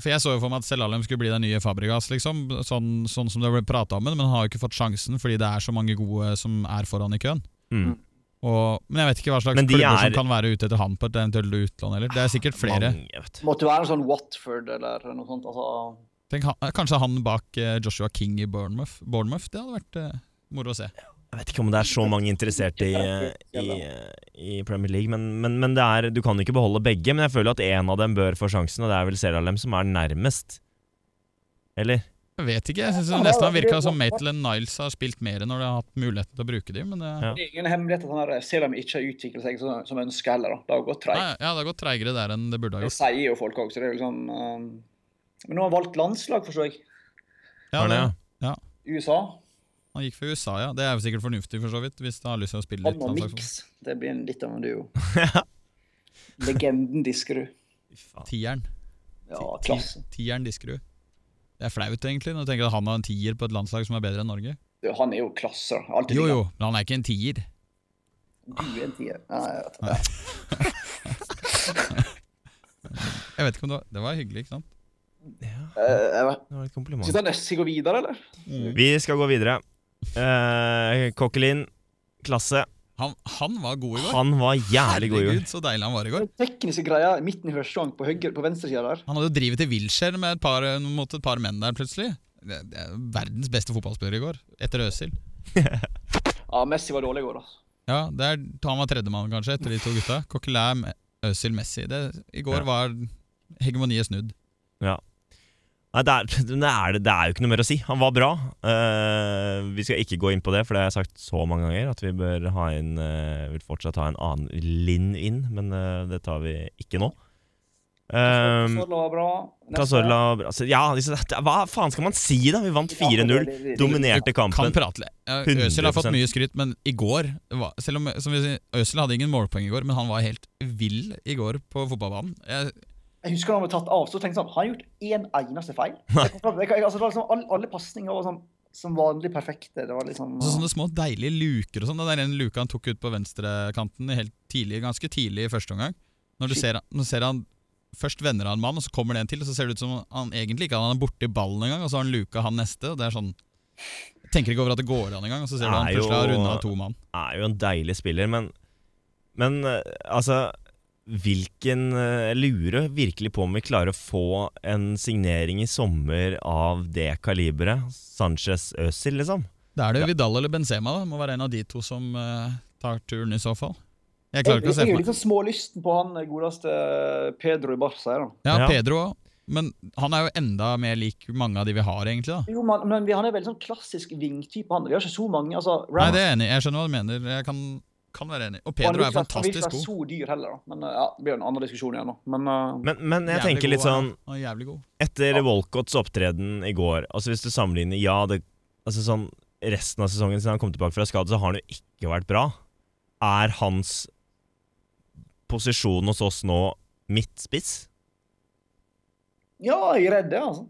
B: For Jeg så jo for meg at Selalem skulle bli den nye Fabregas, liksom. Sånn, sånn som det ble prata om, men han har jo ikke fått sjansen fordi det er så mange gode som er foran i køen.
A: mm.
B: Og, men jeg vet ikke hva slags
A: Men de
B: klubber
A: er-
B: som kan være ute etter han på et eventuelt utlån heller. Det er sikkert flere.
A: Mange, vet du.
C: måtte være en sånn Watford eller noe sånt. Altså,
B: Tenk, han, kanskje han bak eh, Joshua King i Bournemouth. Bournemouth det hadde vært eh, moro å se.
A: Jeg vet ikke om det er så mange interesserte i, eh, i, eh, i Premier League, men, men, men det er, du kan ikke beholde begge. Men jeg føler at én av dem bør få sjansen, og det er vel Seralem som er nærmest. Eller?
B: Jeg vet ikke, jeg
C: Ja,
B: syns nesten han
C: det-
B: virka som Maitland Niles har spilt mer når de har hatt muligheten til å bruke dem, men eh, det,
A: Ja.
C: det er ingen hemmelighet at han her, selv om han ikke har utviklet seg som, som ønsker heller. Da. Det har
B: nei,
C: gått treigt.
B: ja, det har gått treigere der enn det burde ha
C: Det
B: gjort.
C: sier jo folk òg, så det er jo liksom um, Men nå har han valgt landslag, forstår jeg.
B: Ja,
A: Har det,
B: det,
A: ja.
C: USA.
B: han gikk for USA, ja. Det er jo sikkert fornuftig, for så vidt, hvis du har lyst til å spille litt.
C: Han og
B: landslagsfotball.
C: Mix. Det blir en litt av en duo. Legenden Diskerud.
A: Fy faen.
B: Tieren.
C: Ja,
B: Ti-
C: klasse.
B: Tieren Diskerud. Det er flaut, egentlig, når du tenker at han har en tier på et landslag som er bedre enn Norge.
C: Du, Han er jo klasse. da. Alltid
B: Jo, jo, men han er ikke en tier.
C: Du er en tier. Nei, jeg vet
B: Nei.
C: ikke.
B: Jeg vet ikke om Det var, det var hyggelig, ikke sant?
A: Ja,
C: Eh, jeg vet-
A: det var et
C: Skal
A: kompliment.
C: han Nessie gå videre, eller?
A: Vi skal gå videre. Eh, Kokkelin, klasse.
B: Han, han var god i går.
A: Han var jævlig god i går.
B: Herregud, så deilig han var i går.
C: Den tekniske greia midten i første gang på, høyre- på venstresida der.
B: Han hadde jo drivet til Wilshere med et par, mot et par menn der, plutselig. Det, det er verdens beste fotballspiller i går, etter Øsil.
C: Ja, Messi var dårlig i går, altså.
B: Ja, det er, Han var tredjemann, kanskje, etter de to gutta. Coquelin, Øsil, Messi. Det, I går
A: Ja.
B: var hegemoniet snudd.
A: Nei, det, er, det, er, det er jo ikke noe mer å si. Han var bra. Eh, vi skal ikke gå inn på det, for det har jeg sagt så mange ganger at vi bør ha en, eh, vil fortsatt ha en annen Linn inn, men eh, det tar vi ikke nå.
B: Ehm,
A: Uh,
C: Sorla var bra. Neste.
A: Casorla altså, Ja, disse, det, hva faen skal man si, da? Vi vant 4-0, dominerte
B: Kan
A: kampen.
B: prate litt. Ja, Øsil har fått
A: 100%.
B: mye skryt, men i går var, selv om, som vi sier, Øsil hadde ingen målpoeng i går, men han var helt vill i går på fotballbanen. Jeg,
C: Jeg husker da han ble tatt av, så tenkte jeg sånn, har han gjort én eneste feil? Jeg kom fram- jeg- jeg- Altså, det var liksom alle, alle pasninger var sånn som vanlig perfekte. Det var liksom
B: så sånne små deilige luker og sånn. Den der ene luka han tok ut på venstrekanten helt tidlig, ganske tidlig i første omgang. Når du ser, han- når du ser han Først vender han en mann, og så kommer det en til, og så ser det ut som han egentlig ikke han er borti ballen engang, og så har han luka han neste, og det er sånn jeg Tenker ikke over at det går an engang, og så ser du han
A: Er jo-
B: plutselig har runda to mann.
A: er jo en deilig spiller, men, men eh, altså Hvilken eh, Jeg lurer virkelig på om vi klarer å få en signering i sommer av det kaliberet. Sanchez Øzil, liksom.
B: Da er det
A: Ja.
B: jo Vidal eller Benzema, da. Må være en av de to som eh, tar turen i så fall. Jeg
C: Jeg
B: klarer ikke å se
C: jeg er
B: for
C: jo
B: meg
C: liksom smålysten på han godeste Pedro i Barca. her, da.
B: Ja,
A: Ja.
B: Pedro òg. Men han er jo enda mer lik mange av de vi har, egentlig. da
C: Jo, men, men vi- han er veldig sånn klassisk vingtype, han. Vi har ikke så mange. altså,
B: Nei,
C: Ram-
B: det er jeg enig i. Jeg skjønner hva du mener. Jeg kan, kan være enig. Og
C: han
B: Pedro er
C: ikke være- han vil ikke
B: fantastisk
C: være
B: god.
C: så dyr heller, da. Men eh, ja, det blir jo en annen diskusjon igjen nå. Men eh,
A: Men, men jeg
B: Jævlig
A: tenker litt
B: god er han.
A: sånn
B: Han er jævlig god.
A: Etter Walcotts opptreden i går Altså Hvis du sammenligner Ja, det, altså sånn resten av sesongen siden han kom tilbake fra skade, så har han jo ikke vært bra. Er hans posisjon hos oss nå midtspiss?
C: ja, jeg er redd det, altså.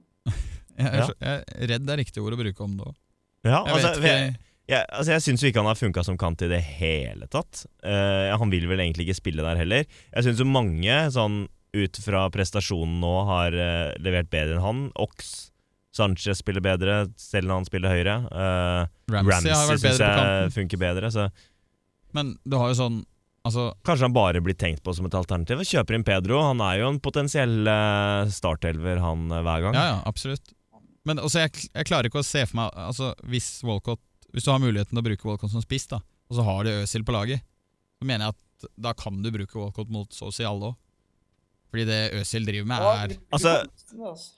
B: Jeg, er
A: Ja.
B: så- jeg, er redd er riktig ord å bruke om det òg.
A: Ja,
B: Jeg
A: altså,
B: vet
A: jeg,
B: ikke.
A: jeg, altså, jeg syns jo ikke han har funka som kant i det hele tatt. Eh, han vil vel egentlig ikke spille der heller. Jeg syns jo mange, sånn ut fra prestasjonen nå, har eh, levert bedre enn han. Ox Sanchez spiller bedre, selv når han spiller høyre. Eh,
B: Ramsey,
A: Ramsey
B: har vært
A: syns
B: bedre på kanten.
A: jeg funker bedre. Så
B: Men du har jo sånn Altså,
A: Kanskje han bare blir tenkt på som et alternativ. Kjøper inn Pedro. Han er jo en potensiell eh, startelver, han, eh, hver gang.
B: ja, ja, absolutt. Men også, jeg, jeg klarer ikke å se for meg altså, hvis, Walcott, hvis du har muligheten til å bruke Walcott som spiss, da, og så har du Øsil på laget, så mener jeg at da kan du bruke Walcott mot Social òg. Fordi det Øsil driver med, er
A: Altså-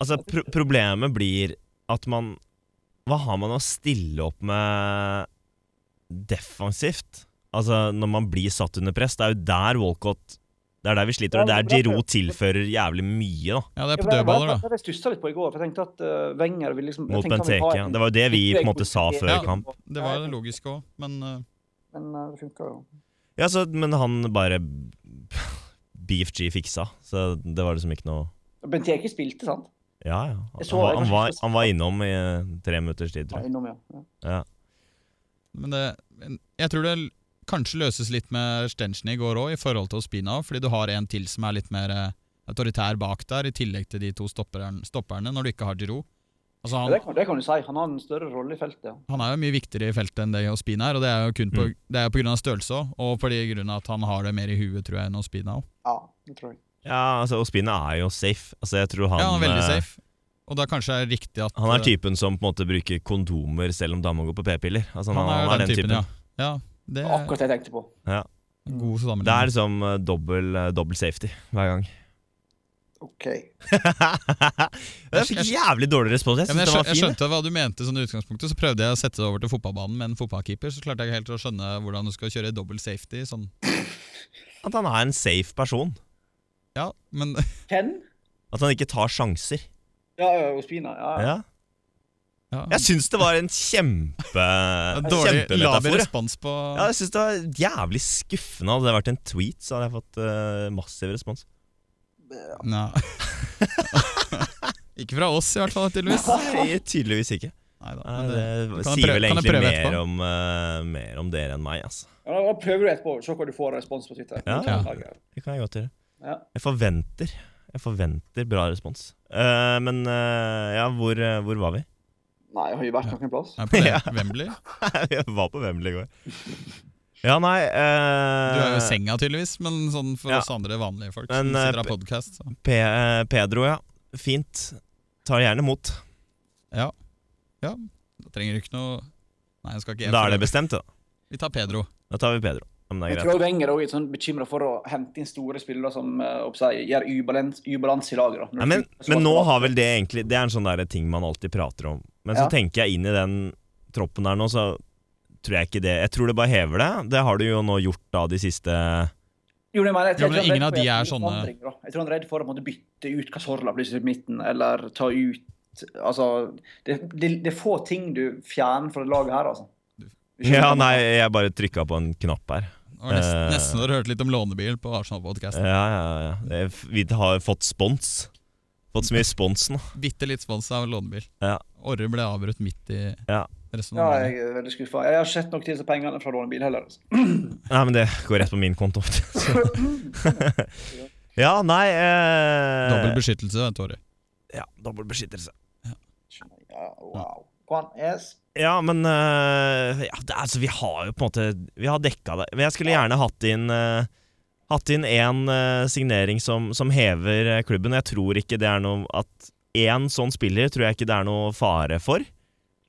A: Altså, pro problemet blir at man Hva har man å stille opp med defensivt? Altså, når man blir satt under press. Det er jo der Walcott Det er der vi sliter, og det er der Giroud tilfører jævlig mye, da.
B: Ja, det er
C: Jeg
B: på
C: bare-
B: dødballer, da.
C: bare- Jeg stussa litt på i går, for jeg tenkte at eh, Wenger ville liksom jeg
A: Mot
C: tenkte han ville ha
A: Benteke.
C: en-
A: Det var jo det vi på en måte sa før
C: Ja.
A: kamp.
B: Det var det logiske òg, men eh,
C: Men eh, det funka jo.
A: Ja, så, Men han bare BFG fiksa, så det var liksom ikke noe
C: Benteke spilte, sant?
A: Ja, ja. Han
C: Jeg så-
A: var,
C: jeg
A: han
C: kanskje
A: var,
C: ikke så-
A: han var innom i eh, tre minutters tid,
C: Ja,
A: tror jeg.
C: innom, ja. Ja.
A: Ja.
B: Men det, men jeg tror det l- kanskje løses litt med Stenchny i går òg, i forhold til Ospina. Fordi du har en til som er litt mer eh, autoritær bak der, i tillegg til de to stopperen, stopperne, når du ikke har Giroud. Altså
C: Ja,
B: han,
C: Det, kan, det kan du si. Han har en større rolle i feltet. ja.
B: han er jo mye viktigere i feltet enn det Ospina er, og det er jo kun på,
A: Mm.
B: det er jo på grunn av størrelse òg, og på grunn av at han har det mer i huet, tror jeg, enn Ospina òg.
C: Ja, det tror jeg.
A: ja, altså Ospina er jo safe. Altså, jeg tror han
B: Ja, han er veldig
A: eh,
B: safe. Og da kanskje er det riktig at
A: Han er
B: eh,
A: typen som på en måte bruker kondomer selv om dama går på p-piller. Altså,
B: eh,
A: han, han, er den typen,
B: ja. ja. Det
C: Det var
B: er
C: akkurat det jeg tenkte på.
B: god
A: Det er
B: sammenligning.
A: liksom eh, dobbel, eh, dobbel safety hver gang.
C: OK.
A: jeg fikk jævlig dårlig respons. Jeg
B: Ja, men
A: synes det var
B: jeg, skjøn, jeg
A: fin.
B: skjønte hva du mente, sånn i utgangspunktet, så prøvde jeg å sette det over til fotballbanen med en fotballkeeper. Så klarte jeg ikke helt å skjønne hvordan du skal kjøre dobbel safety. Sånn.
A: jeg. At han er en safe person.
B: Ja, men
C: Ken?
A: At han ikke tar sjanser.
C: Ja, ja, Ospina. Ja. ja.
A: Ja.
B: ja.
A: Jeg syns det var en kjempe
B: Dårlig laber
A: kjempemetafor. ja.
B: respons på
A: Ja, jeg synes det var jævlig skuffende. Hadde det vært en tweet, så hadde jeg fått eh, massiv respons.
B: Nja. Ikke fra oss, i hvert fall, tydeligvis.
A: Nei, tydeligvis ikke.
B: Neida,
A: Nei,
B: men
A: det
B: det- kan jeg
A: sier
B: prøve-
A: vel
B: kan jeg
A: egentlig
B: prøve
A: mer
B: etterpå?
A: om, eh, mer om dere enn meg, altså.
C: Ja, da prøver du etterpå. Se hva du får av respons på Twitter.
A: Ja.
C: Ja.
A: Det kan jeg godt gjøre.
C: Ja.
A: Jeg forventer Jeg forventer bra respons. Eh, men eh, ja, hvor, eh, hvor var vi?
C: Nei, jeg har jo vært noen plass.
B: Nei, på det.
A: Ja.
B: Wembley.
A: jeg var på Wembley i går. Ja, nei
B: Du
A: eh,
B: er jo i senga, tydeligvis, men sånn for
A: Ja.
B: oss andre vanlige folk
A: Men,
B: som sitter
A: eh,
B: av podkast.
A: Pe eh, Pedro, ja. Fint. Tar gjerne imot.
B: Trenger ikke noe Nei, jeg skal ikke
A: Da er det bestemt, da.
B: Vi tar Pedro.
A: Da tar vi Pedro. Ja, Men det
C: Jeg
A: er greit.
C: tror Wenger også er sånn bekymra for å hente inn store spillere som eh, hva skal jeg si, gjør ubalans- ubalanse i laget. da.
A: Nei, men, men nå har vel det egentlig Det er en sånn der ting man alltid prater om. Men så
C: Ja.
A: tenker jeg inn i den troppen der nå, så tror jeg ikke det Jeg tror det bare hever det. Det har du jo nå gjort da de siste
C: Jo, det mener jeg.
B: Jo,
C: Jeg
B: men
C: tror han
B: ingen
C: redd
B: av
C: for
B: de
C: å
B: er
C: gjøre
B: sånne-
C: forandringer, da. Jeg tror han er redd for å på en måte bytte ut Casorla plutselig i midten, eller ta ut Altså, det, det, det er få ting du fjerner fra det laget her, altså. Du skjønner
A: Ja,
C: hva jeg
A: nei,
C: mener?
A: jeg bare trykka på en knapp her.
B: Det var nesten,
A: Eh.
B: nesten du hørte litt om lånebil på Arsenal-podkasten.
A: Ja, ja, ja. Det er, f- vi har fått spons. Fått så mye spons nå.
B: Bitte litt spons av lånebil.
A: Ja.
B: Orre ble avbrutt midt i
A: Ja.
C: Ja,
B: resonnementet.
C: jeg er veldig skuffa. Jeg har ikke sett nok til disse pengene fra lånebil heller. Altså.
A: Nei, men det går rett på min konto. ja, nei eh,
B: Dobbel beskyttelse, vet du, Orre.
A: ja, dobbel beskyttelse.
C: Ja, wow. Kom an, yes.
A: Ja, men eh, ja, det, er- altså, vi har jo på en måte Vi har dekka det. Men jeg skulle gjerne hatt inn eh, Hatt inn én eh, signering som, som hever eh, klubben. Jeg tror ikke det er noe At én sånn spiller tror jeg ikke det er noe fare for.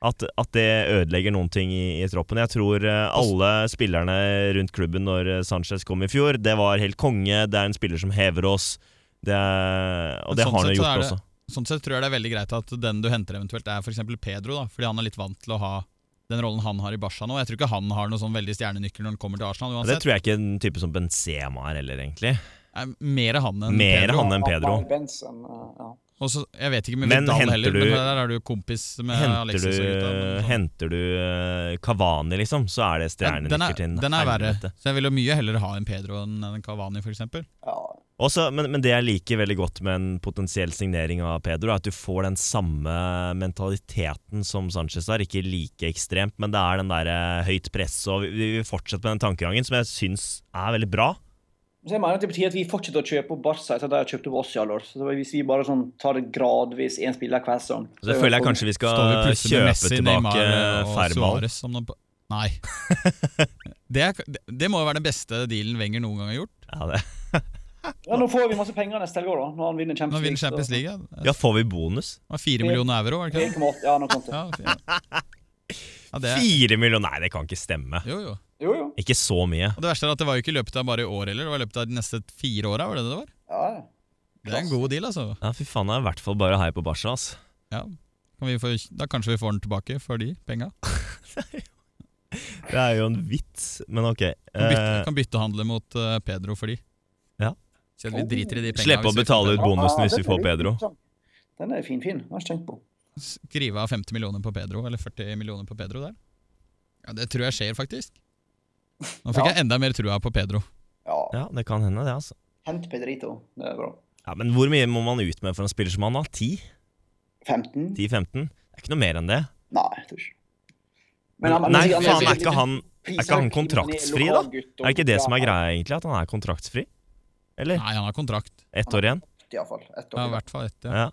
A: At, at det ødelegger noen ting i, i troppen. Jeg tror eh, alle spillerne rundt klubben når eh, Sanchez kom i fjor, det var helt konge. Det er en spiller som hever oss. Det er, og
B: Men
A: det
B: sånn
A: har han jo
B: sett så
A: gjort
B: er det-
A: også.
B: Sånn sett tror jeg det er veldig greit at den du henter eventuelt, er f.eks. Pedro, da, fordi han er litt vant til å ha den rollen han har i Barca nå. Jeg tror ikke han har noen sånn veldig stjernenykkel når han kommer til Arsenal.
A: Det
B: uansett.
A: tror jeg ikke en type som Benzema er heller, egentlig.
B: Det er Mer han enn
A: Mer
B: Pedro.
A: han enn Pedro.
C: Benson, eh, ja.
B: Og så- jeg vet ikke med
A: Men
B: Vidal
A: henter
B: heller,
A: du-
B: men der er du jo kompis med
A: Henter
B: Alexis og
A: du,
B: gutta. men sånn.
A: henter du eh, Cavani, liksom, så er det
B: Ja, den er,
A: stjernenykker til en
B: den er verre,
A: helvete.
B: så jeg vil jo mye heller ha en Pedro enn en Cavani, f.eks.
C: ja.
A: Også, men, men det jeg liker veldig godt med en potensiell signering av Pedro, er at du får den samme mentaliteten som Sanchez har. Ikke like ekstremt, men det er den der eh, høyt press og vi, vi fortsetter med den tankegangen, som jeg syns er veldig bra.
C: Så jeg mener at Det betyr at vi fortsetter å kjøpe opp Barca etter at de har kjøpt opp oss i alle år. Så det var- Hvis vi bare sånn tar det gradvis, én spiller hver sesong
A: Så jeg føler jeg kanskje vi skal
B: Står vi plutselig med eh,
A: kjøpe
B: Messi,
A: tilbake
B: Neymar og
A: Fermal.
B: Suárez som noen Nei. Det, er- det, det må jo være den beste dealen Wenger noen gang har gjort.
A: Ja, det.
C: Ja, nå får vi masse penger neste helg òg, da. Når han vinner
B: Når
C: Champions
B: han vinner Champions
C: så-
B: League.
A: ja, får vi bonus?
B: Det var fire millioner euro, var det ikke det?
C: 1,8, ja, noe sånt.
B: Ja, fire. Ja, det er,
A: Fire millioner? Nei, det kan ikke stemme.
B: jo, jo.
C: Jo, jo.
A: Ikke så mye.
B: Og det verste er at det var jo ikke i løpet av bare i år heller, det var i løpet av de neste fire åra. Var det det det var?
C: Ja, ja.
B: Det er en god deal, altså.
A: Ja, Fy faen, det er i hvert fall bare hei på Barca. ass.
B: Ja. Kan vi få, da kanskje vi får den tilbake for de penga.
A: Det er jo en vits, men ok.
B: Kan, bytte,
A: Eh,
B: kan byttehandle mot eh, Pedro for de.
A: Ja.
B: Så vi driter i de penga.
A: Slippe å betale ut bonusen hvis vi får Pedro.
C: sånn. Den er fin-fin. Har ikke tenkt på.
B: Skrive av 50 millioner på Pedro, eller 40 millioner på Pedro der. Ja, Det tror jeg skjer, faktisk. Nå fikk
C: Ja.
B: jeg enda mer trua på Pedro.
C: Ja.
A: Eh, Ja, det kan hende, det, altså.
C: Hent Pedrito. Det er bra.
A: Ja, Men hvor mye må man ut med for en spiller som han, da? 10? 10-15?
C: 15?
A: Det er ikke noe mer enn det.
C: Nei, jeg tror ikke
A: Nei,
B: han-
A: faen, er
B: han-
A: ikke han er ikke han kontraktsfri, da? Er ikke det som er greia, egentlig? At han er kontraktsfri? Eller?
B: Nei, han har kontrakt.
A: Ett år igjen?
C: Iallfall. Ett år.
B: Ja, I
C: igjen.
B: hvert fall ett. Ja.
A: Ja.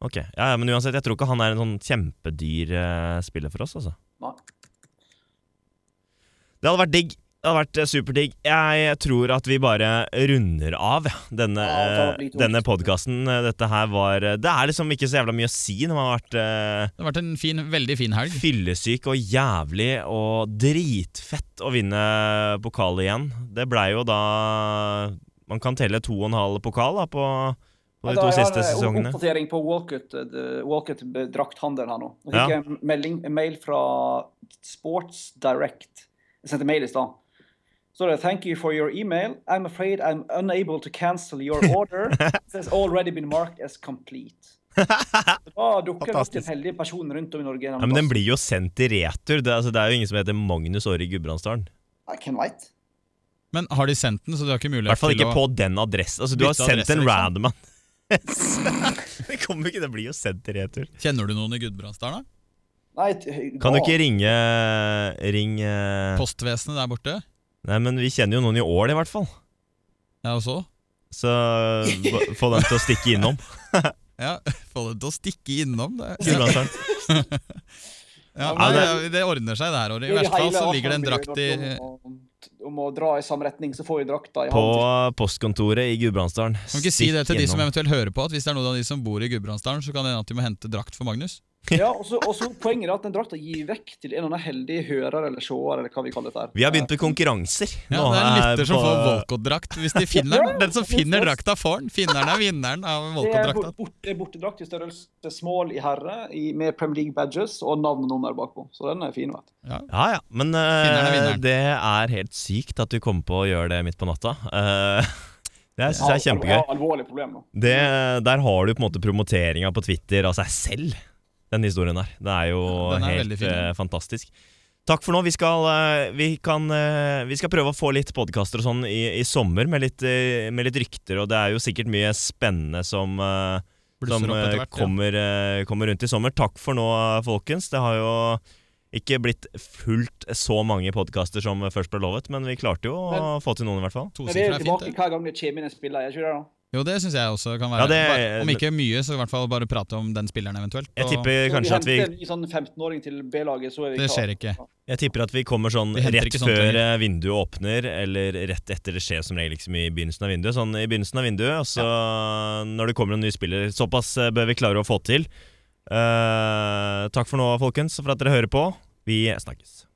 A: Ok. Ja, ja, men uansett, jeg tror ikke han er en sånn kjempedyr eh, spiller for oss, altså.
C: Nei.
A: Det hadde vært digg. Det hadde vært eh, superdigg. Jeg tror at vi bare runder av ja, denne,
C: Ja, det hadde
A: eh,
C: blitt tungt.
A: denne podkasten. Dette her var eh, Det er liksom ikke så jævla mye å si når man har vært eh,
B: Det har vært en fin, veldig fin helg.
A: fyllesyk og jævlig og dritfett å vinne pokal igjen. Det blei jo da Man kan telle to og en halv pokal da, på, på de
C: Ja,
A: to
C: da, jeg har,
A: siste
C: eh,
A: sesongene.
C: Oppdatering på Walcott, eh, the- Walcott eh, drakthandel her nå. Nå
A: Ja.
C: fikk jeg en, melding, en mail fra Sports Direct. Jeg sendte mail i stad. Så det, thank you for your email. I'm afraid I'm unable to cancel your order. It has already been marked as complete. Så Da dukker det opp en
A: Fantastisk.
C: heldig person rundt om i Norge.
A: Ja, men den blir jo sendt i retur. Det, altså, det er jo ingen som heter Magnus Åre i Gudbrandsdalen.
C: Nei, Hvem veit?
B: Men har de sendt den, så du har ikke
A: I hvert
B: mulighet
A: fall
B: til
A: ikke på den adressen. Altså, du
B: Bytte
A: har sendt
B: adresse,
A: en
B: liksom.
A: random en. det kommer jo ikke, det blir jo sendt i retur.
B: å Kjenner du noen i Gudbrandsdalen? da?
C: Nei, t-
A: Kan du
C: da-
A: ikke ringe Ring eh,
B: Postvesenet der borte?
A: Nei, men vi kjenner jo noen i Ål, i hvert fall.
B: Ja, og så?
A: Så b- få dem til å stikke innom.
B: Ja, Få det til å stikke innom. Det, ja,
A: Gudbrandsdalen.
B: men det, det ordner seg det her året. I verste fall så ligger det en drakt i Kan
C: Om, om å dra i samme retning, så får vi drakta i
A: På
C: hånden.
A: postkontoret i Gudbrandsdalen.
B: vi ikke si det til de som eventuelt hører på, at hvis det er noen av de som bor i Gudbrandsdalen, så kan det hende at de må hente drakt for Magnus.
C: Ja, og så, og så Poenget er at den drakta gir vekk til en eller annen heldig hører eller seer. eller hva vi kaller dette her.
A: Vi har begynt med konkurranser.
B: Ja,
A: Nå
B: det er en
A: er
B: lytter som
A: på-
B: får Volcott-drakt. Hvis de finner den, den som finner drakta, får den. Finneren er vinneren av
C: Det er bort-
B: Volcott-drakta.
C: bort- det er bortedrakt i størrelse small i herre i, med Premier League badges og navn og nummer bakpå. Så den er fin. vet du.
A: Ja, ja. Men eh,
B: Finneren er vinneren.
A: det er helt sykt at du kom på å gjøre det midt på natta. Eh, det syns jeg er kjempegøy.
C: Ja, alvorlig problem nå.
A: Det, der har du på en måte promoteringa på Twitter av seg selv, den historien der. Det er jo
B: Ja, den er veldig
A: helt
B: fin.
A: eh, fantastisk. Takk for nå. Vi skal, eh, vi kan, eh, vi skal prøve å få litt podkaster og sånn i, i sommer, med litt, eh, med litt rykter, og det er jo sikkert mye spennende som eh,
B: Blusser
A: som
B: opp etter
A: eh,
B: hvert. Ja.
A: kommer, eh, kommer rundt i sommer. Takk for nå, folkens. Det har jo ikke blitt fullt så mange podkaster som først ble lovet, men vi klarte jo å få til noen, i hvert fall.
C: Men det er
B: Tosifra er
C: jo
B: fint.
C: tilbake
B: det.
C: hver gang det kommer inn en spiller. Jeg tror det da.
B: Jo, det syns jeg også kan
A: Ja,
B: være.
A: det-
B: Bare- Om ikke mye, så i hvert fall bare prate om den spilleren eventuelt.
A: Jeg
B: og-
A: tipper
C: Når
A: kanskje at vi,
C: henter en ny sånn 15-åring til B-laget, så er vi
B: Det
C: klare.
B: skjer ikke.
A: jeg tipper at vi kommer sånn
B: Vi henter
A: rett
B: ikke sånt
A: før
B: lenger.
A: eh, vinduet åpner, eller rett etter det skjer som regel liksom i begynnelsen av vinduet. Sånn i begynnelsen av vinduet, og så når det kommer en ny spiller. Såpass eh, bør vi klare å få til. Eh, takk for nå, folkens, for at dere hører på. Vi snakkes.